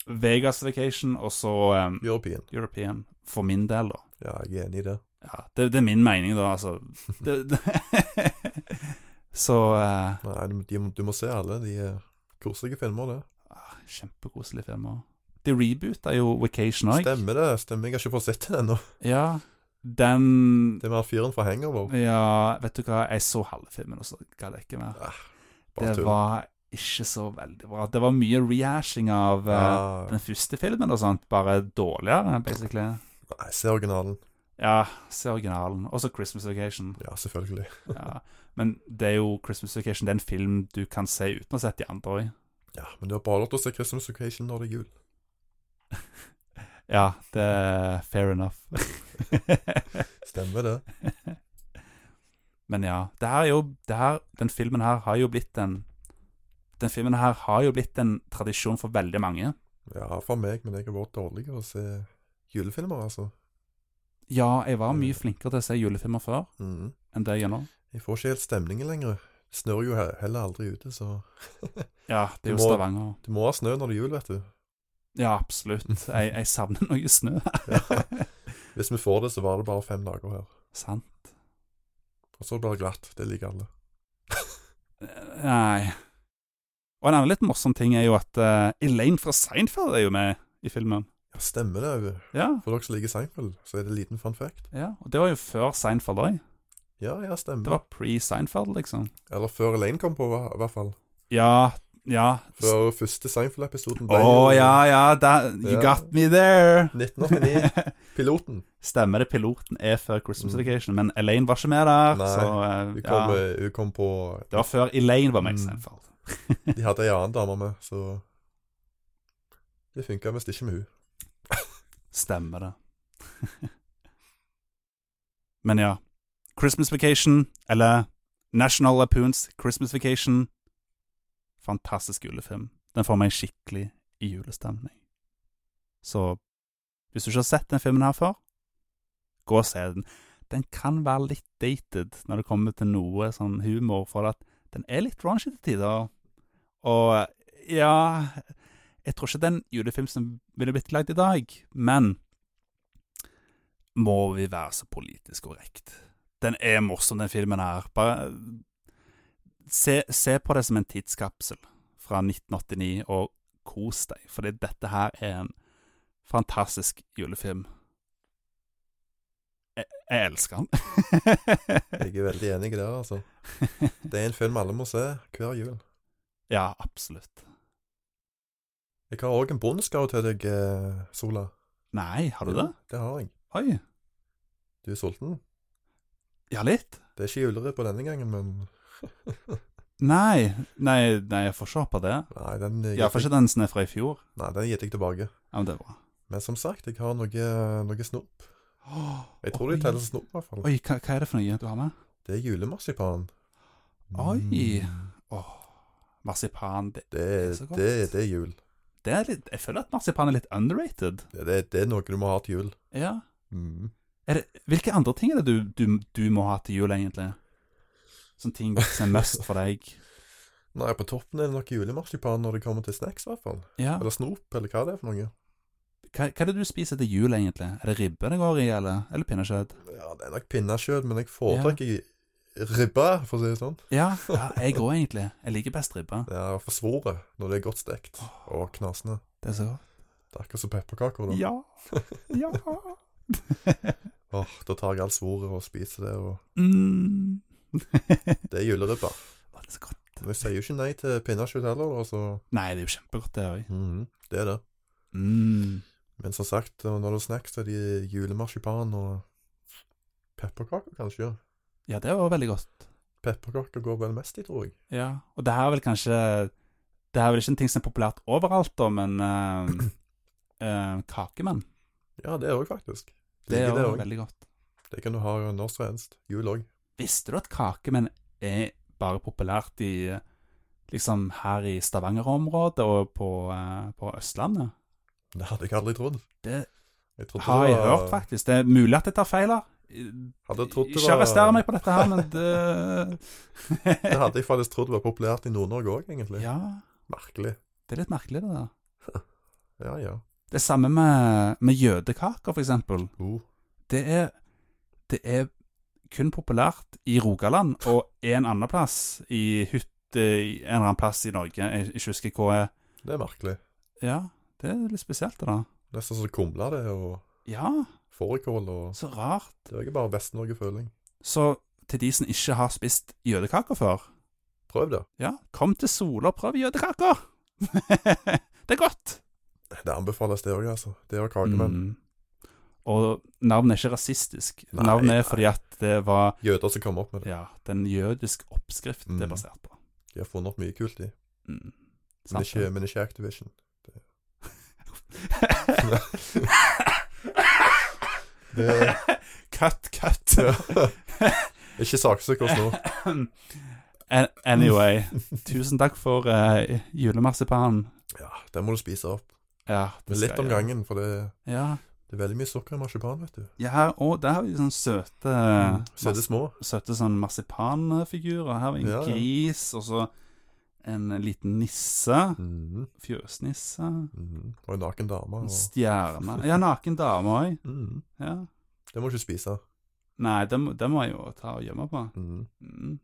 [SPEAKER 2] Vegas Vacation, og så em,
[SPEAKER 3] European.
[SPEAKER 2] European. For min del, da.
[SPEAKER 3] Ja, jeg er enig i det.
[SPEAKER 2] Ja, det, det er min mening, da, altså. Det, det så eh,
[SPEAKER 3] Nei, du, de, du må se alle. De er koselige filmer, det.
[SPEAKER 2] ah, Kjempekoselige filmer. De rebooter jo Vacation òg.
[SPEAKER 3] Stemmer det. Stemmer. Jeg har ikke fått sett den ennå.
[SPEAKER 2] Ja, den
[SPEAKER 3] Det er mer fyren fra Hangover.
[SPEAKER 2] Ja, vet du hva, jeg så halve filmen, og så ga det ikke mer.
[SPEAKER 3] Bare
[SPEAKER 2] Det
[SPEAKER 3] tull.
[SPEAKER 2] var ikke så veldig bra. Det var mye rehashing av eh,
[SPEAKER 3] Ja.
[SPEAKER 2] den første filmen og sånt, bare dårligere, basically.
[SPEAKER 3] Nei, se originalen.
[SPEAKER 2] Ja, se originalen. Også Christmas Vacation.
[SPEAKER 3] Ja, selvfølgelig.
[SPEAKER 2] Ja. Men det er jo Christmas Vacation, det er en film du kan se uten å ha sett de andre òg.
[SPEAKER 3] Ja, Men du har bare lov til å se Christmas Vacation når det er jul.
[SPEAKER 2] Ja, det er fair enough.
[SPEAKER 3] Stemmer det.
[SPEAKER 2] Men ja, det her er jo det her, Den filmen her har jo blitt en Den filmen her har jo blitt en tradisjon for veldig mange.
[SPEAKER 3] Ja, for meg, men jeg har vært dårlig å se julefilmer, altså.
[SPEAKER 2] Ja, jeg var mye flinkere til å se julefilmer før
[SPEAKER 3] Mhm.
[SPEAKER 2] enn det jeg gjør nå.
[SPEAKER 3] Jeg får ikke helt stemningen lenger. Det snør jo he- heller aldri ute, så
[SPEAKER 2] Ja, det er
[SPEAKER 3] Du
[SPEAKER 2] jo
[SPEAKER 3] må-
[SPEAKER 2] Stavanger.
[SPEAKER 3] Du må ha snø når det er jul, vet du.
[SPEAKER 2] Ja, absolutt. Jeg, jeg savner noe snø.
[SPEAKER 3] Ja. Hvis vi får det, så var det bare fem dager her.
[SPEAKER 2] Sant.
[SPEAKER 3] Og så blir det glatt. Det liker alle.
[SPEAKER 2] Nei. Og en annen litt morsom ting er jo at eh, Elaine fra Seinfeld er jo med i filmen.
[SPEAKER 3] Ja, stemmer det. Øyvind.
[SPEAKER 2] Ja,
[SPEAKER 3] For dere som liker Seinfeld, så er det en liten fun fact.
[SPEAKER 2] ja. Og det var jo før Seinfeld òg.
[SPEAKER 3] Ja, ja,
[SPEAKER 2] Det
[SPEAKER 3] stemmer.
[SPEAKER 2] var pre-Seinfeld, liksom.
[SPEAKER 3] Eller før Elaine kom på, i hvert fall.
[SPEAKER 2] Ja, ja. Å
[SPEAKER 3] Før første Seinfeld-episoden ble jo
[SPEAKER 2] ja, ja. da- you
[SPEAKER 3] Ja.
[SPEAKER 2] got me there.
[SPEAKER 3] 1989. Piloten.
[SPEAKER 2] Stemmer det, piloten er før Christmas
[SPEAKER 3] Mm.
[SPEAKER 2] Vacation, men Elaine var ikke med der.
[SPEAKER 3] Nei,
[SPEAKER 2] så,
[SPEAKER 3] Hun
[SPEAKER 2] eh,
[SPEAKER 3] kom,
[SPEAKER 2] ja.
[SPEAKER 3] eh, hun kom på
[SPEAKER 2] Det var før Elaine var med i
[SPEAKER 3] Mm.
[SPEAKER 2] Seinfeld.
[SPEAKER 3] De hadde ei annen dame med, så Det funka visst ikke med hun.
[SPEAKER 2] Stemmer det. Men ja. Christmas Vacation, eller National Lapoons Christmas Vacation. Fantastisk julefilm. Den får meg skikkelig i julestemning. Så hvis du ikke har sett den filmen her før, gå og se den. Den kan være litt dated når det kommer til noe sånn humor, for at den er litt raunchy til tider. Og ja Jeg tror ikke det er en julefilm som ville blitt lagd i dag, men må vi være så politisk korrekt? Den er morsom, den filmen her. Bare se, se på det som en tidskapsel fra 1989, og kos deg, fordi dette her er en fantastisk julefilm. Jeg, jeg elsker den.
[SPEAKER 3] Jeg er veldig enig der, altså. Det er en film alle må se hver jul.
[SPEAKER 2] ja, absolutt.
[SPEAKER 3] Jeg har òg en bonusgave til deg, eh, Sola.
[SPEAKER 2] Nei, har du
[SPEAKER 3] Jo,
[SPEAKER 2] det?
[SPEAKER 3] Det har jeg.
[SPEAKER 2] Oi.
[SPEAKER 3] Du er sulten?
[SPEAKER 2] Ja, litt.
[SPEAKER 3] Det er ikke juleribbe denne gangen, men
[SPEAKER 2] Nei, nei, nei jeg får se på det.
[SPEAKER 3] Nei, den eh,
[SPEAKER 2] Ja, for ikke den som er fra i fjor.
[SPEAKER 3] Nei, den gir jeg tilbake.
[SPEAKER 2] Ja, men det er bra.
[SPEAKER 3] Men som sagt, jeg har noe, eh, noe snop. Jeg tror
[SPEAKER 2] Oi.
[SPEAKER 3] de teller som snop, i hvert fall.
[SPEAKER 2] Oi, hva, hva er det for noe du har med?
[SPEAKER 3] Det er julemarsipan.
[SPEAKER 2] Oi.
[SPEAKER 3] Mm.
[SPEAKER 2] Åh, marsipan det,
[SPEAKER 3] Det,
[SPEAKER 2] Det er så
[SPEAKER 3] er-
[SPEAKER 2] godt.
[SPEAKER 3] det, det er jul.
[SPEAKER 2] det er litt, Jeg føler at marsipan er litt underrated.
[SPEAKER 3] Det, det, det er noe du må ha til jul.
[SPEAKER 2] Ja.
[SPEAKER 3] Mm.
[SPEAKER 2] Er det, hvilke andre ting er det du, du, du må ha til jul, egentlig? Sånne ting som er must for deg.
[SPEAKER 3] Nei, på toppen er det nok julemarsipan når det kommer til snacks, i hvert fall.
[SPEAKER 2] Ja. Hva,
[SPEAKER 3] Eller snop, eller hva det er for noe.
[SPEAKER 2] hva er det du spiser til jul, egentlig? Er det ribbe det går i, eller, eller pinnekjøtt?
[SPEAKER 3] Ja, det er nok pinnekjøtt, men jeg foretrekker ribbe, for å si det sånn.
[SPEAKER 2] Ja, ja jeg òg, egentlig. Jeg liker best ribbe.
[SPEAKER 3] Det er forsvoret når det er godt stekt og knasende.
[SPEAKER 2] Det er så godt.
[SPEAKER 3] Det er akkurat som pepperkaker. Da.
[SPEAKER 2] Ja. Ja.
[SPEAKER 3] Åh, da tar jeg alt svoret og spiser det. Og
[SPEAKER 2] Mm. Å,
[SPEAKER 3] det er juleribbe.
[SPEAKER 2] det er så godt.
[SPEAKER 3] Men jeg sier jo ikke nei til pinnekjøtt heller, da, så
[SPEAKER 2] Nei, det er jo kjempegodt, det òg.
[SPEAKER 3] mhm, det er det.
[SPEAKER 2] Mm.
[SPEAKER 3] Men som sagt, når det er snacks, så er det julemarsipan og pepperkaker, kanskje. ja.
[SPEAKER 2] Ja, det var veldig godt.
[SPEAKER 3] Pepperkaker går vel mest i, tror jeg.
[SPEAKER 2] Ja, og det her er vel kanskje Det her er vel ikke en ting som er populært overalt, da, men eh, eh, Kakemann,
[SPEAKER 3] Ja, det òg, faktisk.
[SPEAKER 2] det er
[SPEAKER 3] Liker
[SPEAKER 2] jo
[SPEAKER 3] også.
[SPEAKER 2] veldig godt.
[SPEAKER 3] Det kan du ha når som helst. Jul òg.
[SPEAKER 2] Visste du at kakemenn er bare populært i eh, Liksom her i Stavanger-området og på, eh, på Østlandet?
[SPEAKER 3] Det hadde jeg aldri trodd.
[SPEAKER 2] Det
[SPEAKER 3] Jeg trodde
[SPEAKER 2] har
[SPEAKER 3] det
[SPEAKER 2] jeg
[SPEAKER 3] var-
[SPEAKER 2] hørt, faktisk. Det er mulig at jeg tar feil her.
[SPEAKER 3] Hadde jeg trodd det
[SPEAKER 2] Ikke
[SPEAKER 3] var-
[SPEAKER 2] arrester meg på dette her, men det
[SPEAKER 3] Det hadde jeg faktisk trodd var populært i Nord-Norge òg, egentlig.
[SPEAKER 2] Ja,
[SPEAKER 3] Merkelig.
[SPEAKER 2] det er litt merkelig, det der.
[SPEAKER 3] Ja, ja.
[SPEAKER 2] Det samme med, med jødekaker, for eksempel.
[SPEAKER 3] Uh,
[SPEAKER 2] det er, det er kun populært i Rogaland og en annen plass i hytte, i en eller annen plass i Norge. Jeg ikke husker hva er.
[SPEAKER 3] det er merkelig.
[SPEAKER 2] Ja, det er litt spesielt, det da.
[SPEAKER 3] Nesten som kumle det, og
[SPEAKER 2] Ja,
[SPEAKER 3] fårikål og
[SPEAKER 2] så rart.
[SPEAKER 3] Det er jo ikke bare Vest-Norge-føling.
[SPEAKER 2] Så til de som ikke har spist jødekaker før,
[SPEAKER 3] Prøv det.
[SPEAKER 2] ja, kom til Sola og prøv jødekaker! det er godt!
[SPEAKER 3] Det anbefales, det òg, altså. Det og kakemenn.
[SPEAKER 2] Mm. Og navnet er ikke rasistisk.
[SPEAKER 3] Nei,
[SPEAKER 2] navnet er
[SPEAKER 3] nei.
[SPEAKER 2] fordi at det var
[SPEAKER 3] Jøder som kommer opp med det.
[SPEAKER 2] ja, den jødiske oppskrift det
[SPEAKER 3] Mm.
[SPEAKER 2] er basert på.
[SPEAKER 3] De har funnet opp mye kult, de.
[SPEAKER 2] Mm.
[SPEAKER 3] Men
[SPEAKER 2] Sant, det.
[SPEAKER 3] ikke, men ikke Activision. Det,
[SPEAKER 2] Cut, cut.
[SPEAKER 3] ikke saksøk oss nå.
[SPEAKER 2] An- Anyway, tusen takk for uh, julemarsipan.
[SPEAKER 3] Ja, Den må du spise opp.
[SPEAKER 2] Ja, det
[SPEAKER 3] Men
[SPEAKER 2] skal
[SPEAKER 3] litt om
[SPEAKER 2] jeg gjøre.
[SPEAKER 3] gangen, for det,
[SPEAKER 2] Ja.
[SPEAKER 3] det er veldig mye sukker i marsipan, vet du. Mm.
[SPEAKER 2] ja her, og der har vi sånne søte
[SPEAKER 3] Så er det små.
[SPEAKER 2] mars- Søte sånn marsipanfigurer. Her har vi en
[SPEAKER 3] Ja, ja.
[SPEAKER 2] gris, og så en liten nisse.
[SPEAKER 3] Mhm,
[SPEAKER 2] Fjøsnisse.
[SPEAKER 3] mhm. Og en naken dame.
[SPEAKER 2] En
[SPEAKER 3] Og,
[SPEAKER 2] stjerne. Ja, naken dame òg.
[SPEAKER 3] Mhm.
[SPEAKER 2] Ja.
[SPEAKER 3] Det må du ikke spise.
[SPEAKER 2] Nei, det må, det må jeg jo ta og gjemme på.
[SPEAKER 3] Mhm.
[SPEAKER 2] Mm.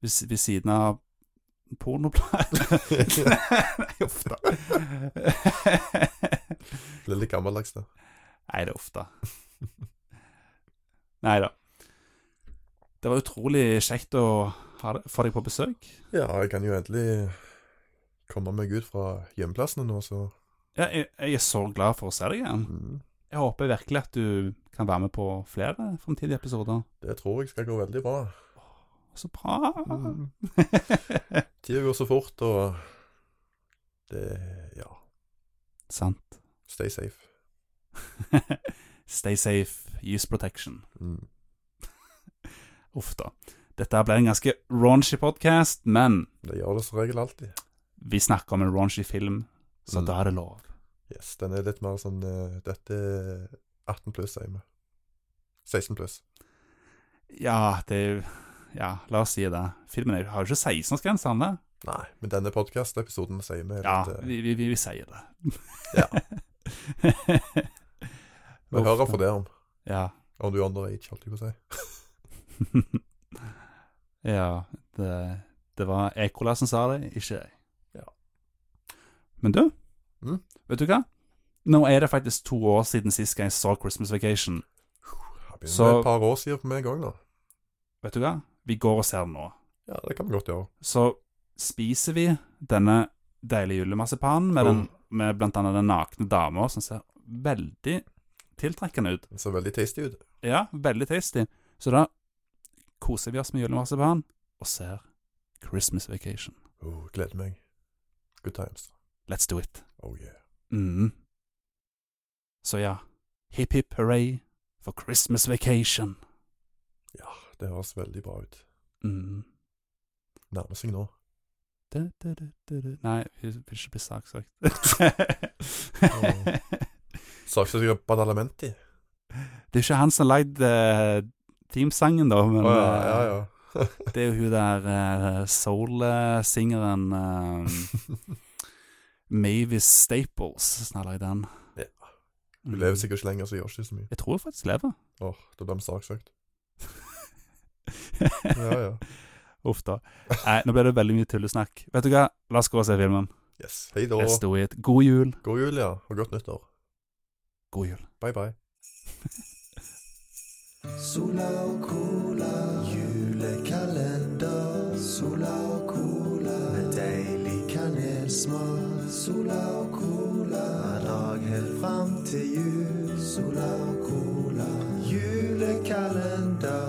[SPEAKER 2] Ved, si- ved siden av pornoplater. Nei, uff da.
[SPEAKER 3] Det er litt gammeldags, det.
[SPEAKER 2] Nei, det er ofte. Nei da. Det var utrolig kjekt å ha det, få deg på besøk.
[SPEAKER 3] Ja, jeg kan jo endelig komme meg ut fra hjemmeplassene nå, så
[SPEAKER 2] Ja, jeg, jeg er så glad for å se deg igjen.
[SPEAKER 3] mhm.
[SPEAKER 2] Jeg håper virkelig at du kan være med på flere fremtidige episoder.
[SPEAKER 3] det tror jeg skal gå veldig bra.
[SPEAKER 2] Så bra!
[SPEAKER 3] Mm. Tida går så fort, og det Ja,
[SPEAKER 2] Sant.
[SPEAKER 3] stay safe.
[SPEAKER 2] Stay safe, use protection.
[SPEAKER 3] Mm.
[SPEAKER 2] Uff da. Dette her ble en ganske raunchy podcast, men
[SPEAKER 3] Det gjør det som regel alltid.
[SPEAKER 2] vi snakker om en raunchy film, så
[SPEAKER 3] Mm.
[SPEAKER 2] da er det lov.
[SPEAKER 3] Yes, Den er litt mer sånn eh, Dette er 18 pluss, sier vi. 16 pluss.
[SPEAKER 2] Ja, det er jo Ja, la oss si det. Filmen er, har jo ikke 16-årsgrense, han det?
[SPEAKER 3] Nei, men denne podkast-episoden sier vi.
[SPEAKER 2] Ja,
[SPEAKER 3] litt, eh,
[SPEAKER 2] vi, vi, vi, vi sier det.
[SPEAKER 3] Ja. vi
[SPEAKER 2] Uff,
[SPEAKER 3] hører
[SPEAKER 2] da.
[SPEAKER 3] for det om
[SPEAKER 2] Ja.
[SPEAKER 3] Om du er underage, holdt jeg på å si.
[SPEAKER 2] ja det, det var Ekola som sa det, ikke jeg.
[SPEAKER 3] Ja.
[SPEAKER 2] Men du,
[SPEAKER 3] Mm.
[SPEAKER 2] vet du hva? Nå er det faktisk to år siden sist jeg så Christmas Vacation.
[SPEAKER 3] Det begynner
[SPEAKER 2] Så-
[SPEAKER 3] med et par år siden for meg òg, nå.
[SPEAKER 2] Vet du hva? Vi går og ser den nå.
[SPEAKER 3] Ja, det kan vi godt gjøre.
[SPEAKER 2] Så spiser vi denne deilige julemarsipanen med, den, med blant annet den nakne dama, som ser veldig tiltrekkende ut.
[SPEAKER 3] Det ser veldig tasty ut.
[SPEAKER 2] Ja, veldig tasty. Så da koser vi oss med julemarsipan og ser Christmas Vacation.
[SPEAKER 3] Oh, gleder meg. Good times.
[SPEAKER 2] Let's do it.
[SPEAKER 3] Oh yeah.
[SPEAKER 2] Mm. Så ja, hipp hipp hurray for Christmas Vacation.
[SPEAKER 3] Ja, det høres veldig bra ut.
[SPEAKER 2] Mm.
[SPEAKER 3] Nærmer seg nå.
[SPEAKER 2] Du, du, du, du, du. Nei, vi vil ikke bli saksøkt.
[SPEAKER 3] Saksøker Badalamenti.
[SPEAKER 2] Det er ikke han som lagde uh, teamsangen, da, men
[SPEAKER 3] Å ja, ja, ja.
[SPEAKER 2] eh, det er jo hun der eh, soul-singeren eh, Mavis Staples som har lagd den.
[SPEAKER 3] Ja.
[SPEAKER 2] Mm.
[SPEAKER 3] Hun lever sikkert ikke lenger, så gjør ikke så mye.
[SPEAKER 2] Jeg tror hun faktisk lever.
[SPEAKER 3] Åh, Da blir vi saksøkt. Ja, ja.
[SPEAKER 2] Uff da. Nei, nå ble det veldig mye tullesnakk. Vet du hva, la oss gå og se filmen.
[SPEAKER 3] Yes. Hei da.
[SPEAKER 2] Let's do it. God jul.
[SPEAKER 3] God jul, ja. Og godt nyttår.
[SPEAKER 2] God jul.
[SPEAKER 3] Bye, bye.
[SPEAKER 1] Sola og cola, julekalender. Sola og cola, med deilig kanelsmak. Sola og cola, hver dag helt fram til jul. Sola og cola, julekalender.